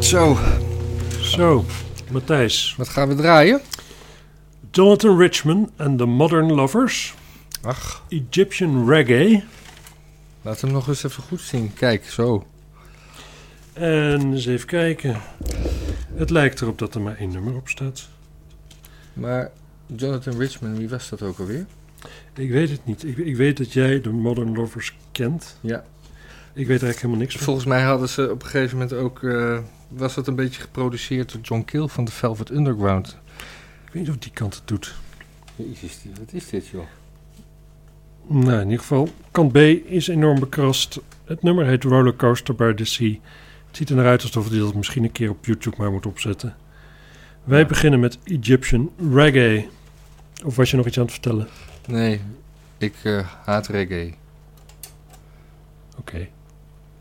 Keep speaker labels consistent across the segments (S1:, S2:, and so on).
S1: Zo,
S2: Zo, Matthijs.
S1: wat gaan we draaien?
S2: Jonathan Richman en The Modern Lovers.
S1: Ach,
S2: Egyptian Reggae.
S1: laat hem nog eens even goed zien. Kijk, zo.
S2: En eens even kijken. Het lijkt erop dat er maar één nummer op staat.
S1: Maar Jonathan Richman, wie was dat ook alweer?
S2: Ik weet het niet. Ik, ik weet dat jij The Modern Lovers kent.
S1: Ja.
S2: Ik weet er eigenlijk helemaal niks van.
S1: Volgens mij hadden ze op een gegeven moment ook... eh, was dat een beetje geproduceerd door John Kill van de Velvet Underground.
S2: Ik weet niet of die kant het doet.
S1: Jezus, die- wat is dit joh?
S2: Nou, in ieder geval, kant B is enorm bekrast. Het nummer heet Rollercoaster by the Sea. Het ziet er naar uit alsof je dat misschien een keer op YouTube maar moet opzetten. Wij
S1: Ja.
S2: beginnen met Egyptian Reggae. Of was je nog iets aan het vertellen?
S1: Nee, ik eh, haat reggae.
S2: Oké.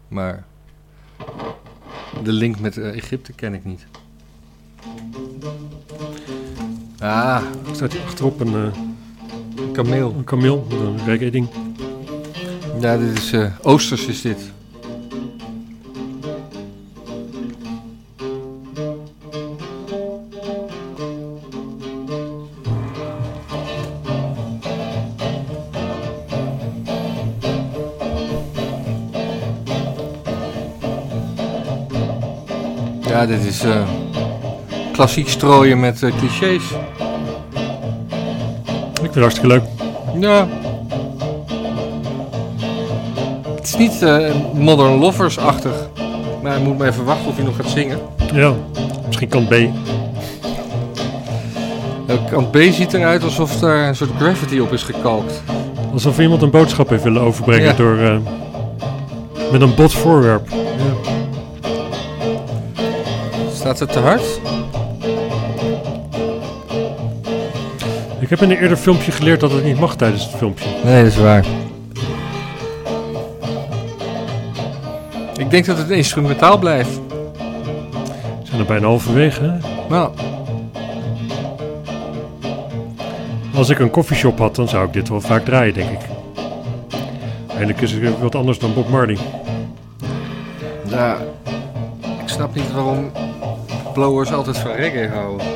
S1: Maar de link met eh, Egypte ken ik niet. Ah,
S2: Staat hier achterop een, eh
S1: kameel.
S2: een kameel met een reggae ding.
S1: Ja, dit is eh, Oosters is dit. Ja, dit is eh, klassiek strooien met eh, clichés.
S2: Ik vind het hartstikke leuk.
S1: Ja. Het is niet eh, Modern Lovers-achtig. Maar ik moet maar even wachten of hij nog gaat zingen.
S2: Ja, misschien kant B.
S1: Eh, Kant B ziet eruit alsof daar een soort gravity op is gekalkt.
S2: Alsof iemand een boodschap heeft willen overbrengen
S1: Ja.
S2: door... eh, met een bot voorwerp.
S1: Staat het te hard?
S2: Ik heb in een eerder filmpje geleerd dat het niet mag tijdens het filmpje.
S1: Nee, dat is waar. Ik denk dat het instrumentaal blijft.
S2: We zijn er bijna halverwege, hè?
S1: Nou,
S2: Als ik een koffieshop had, dan zou ik dit wel vaak draaien, denk ik. Eindelijk is het weer wat anders dan Bob Marley.
S1: ja. Ik snap niet waarom blowers altijd van reggae houden.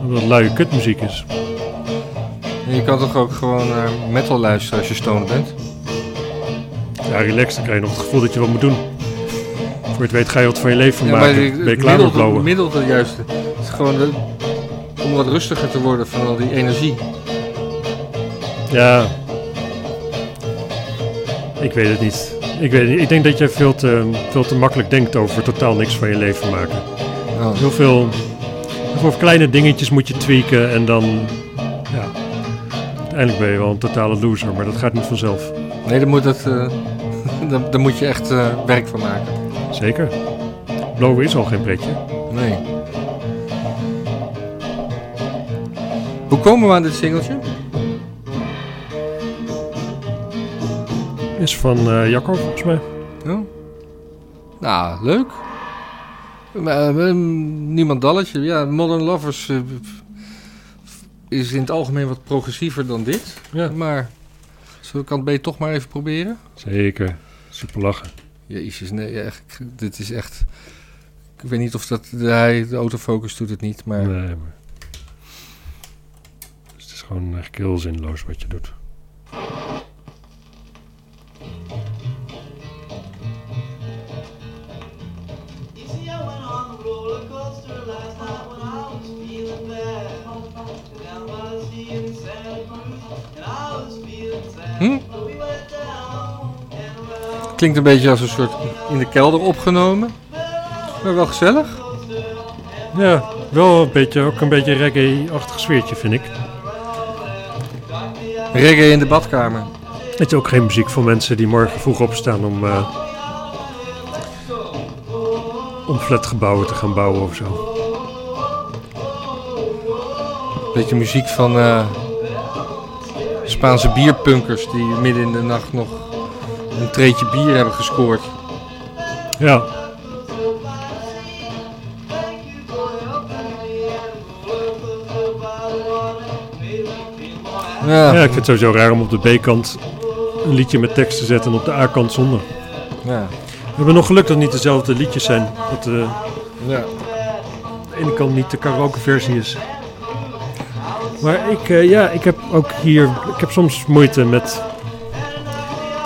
S2: Omdat het luie kutmuziek is.
S1: En je kan toch ook gewoon naar metal luisteren als je stoned bent?
S2: Ja, relaxed, dan krijg je nog het gevoel dat je wat moet doen. Voor je het weet ga je wat van je leven
S1: Ja, maar
S2: maken.
S1: de-
S2: ben je
S1: het
S2: klaar met
S1: middel,
S2: blauwen.
S1: middel de juiste. Het is gewoon de- om wat rustiger te worden van al die energie.
S2: Ja. Ik weet het niet. Ik, weet, het niet. ik denk dat jij veel te, veel te makkelijk denkt over totaal niks van je leven maken.
S1: Oh.
S2: Heel veel... Voor kleine dingetjes moet je tweaken en dan... Ja. Uiteindelijk ben je wel een totale loser, maar dat gaat niet vanzelf.
S1: Nee, daar moet, dat, eh, daar, daar moet je echt eh, werk van maken.
S2: Zeker. Blowen is al geen pretje.
S1: Nee. Hoe komen we aan dit singeltje?
S2: Is van eh, Jacco volgens mij.
S1: Ja. Nou, leuk. Maar, eh, niemand dalletje. Ja, Modern Lovers eh, is in het algemeen wat progressiever dan dit.
S2: Ja.
S1: Maar zullen we kant B toch maar even proberen?
S2: Zeker. Super lachen.
S1: Jezus, nee, ja, echt, ik- dit is echt... Ik weet niet of dat... de- Hij, de autofocus doet het niet, maar...
S2: Nee, maar... Dus het is gewoon echt heel zinloos wat je doet.
S3: You see, I went on the roller coaster last night when I was feeling bad. And down by the sea in Santa Cruz, and I was feeling sad.
S1: Hm?
S3: But we went down and around
S1: Klinkt een beetje als een soort in de kelder opgenomen. Maar wel gezellig.
S2: Ja, wel een beetje, ook een beetje reggae-achtig sfeertje vind ik.
S1: Reggae in de badkamer.
S2: Het is ook geen muziek voor mensen die morgen vroeg opstaan om... eh om flatgebouwen te gaan bouwen of zo.
S1: Beetje muziek van eh, Spaanse bierpunkers die midden in de nacht nog een treetje bier hebben gescoord.
S2: Ja,
S1: Ja,
S2: ja
S1: ja.
S2: ik vind het sowieso raar om op de B-kant een liedje met tekst te zetten en op de A-kant zonder. We hebben nog geluk dat het niet dezelfde liedjes zijn. Dat, eh,
S1: Ja.
S2: de ene kant niet de karaokeversie is. Maar ik, eh, ja, ik heb ook hier, ik heb soms moeite met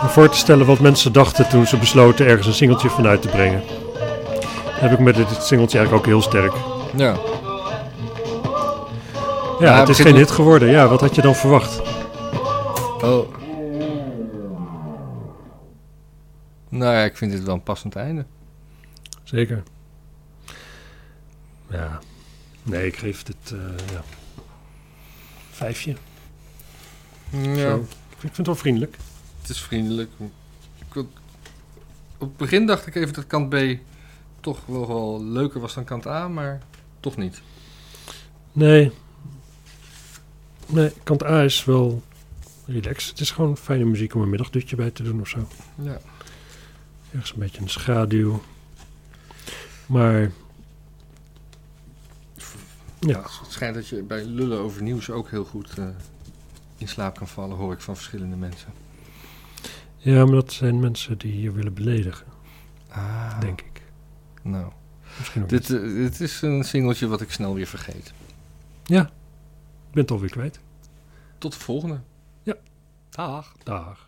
S2: me voor te stellen wat mensen dachten toen ze besloten ergens een singeltje van uit te brengen. Dat heb ik met dit singeltje eigenlijk ook heel sterk.
S1: ja.
S2: Ja,
S1: Ja,
S2: het is
S1: begin-
S2: geen hit geworden. Ja, wat had je dan verwacht?
S1: Oh. Nou ja, ik vind dit wel een passend einde.
S2: Zeker. Ja. Nee, ik geef dit eh, ja. vijfje.
S1: Ja,
S2: Zo. Ik vind het wel vriendelijk.
S1: het is vriendelijk. Ik wil- Op het begin dacht ik even dat kant B toch wel, wel leuker was dan kant A, maar toch niet.
S2: Nee. Nee, kant A is wel relaxed. Het is gewoon fijne muziek om een middagdutje bij te doen of zo.
S1: Ja.
S2: Ergens een beetje een schaduw. Maar... Ja,
S1: Dus Het schijnt dat je bij lullen over nieuws ook heel goed eh, in slaap kan vallen, hoor ik van verschillende mensen.
S2: ja, maar dat zijn mensen die je willen beledigen,
S1: Ah,
S2: denk ik.
S1: nou.
S2: Misschien ook
S1: Dit,
S2: niet.
S1: eh, dit is een singeltje wat ik snel weer vergeet.
S2: Ik ben het alweer kwijt.
S1: Tot de volgende.
S2: Ja.
S1: Dag.
S2: Dag.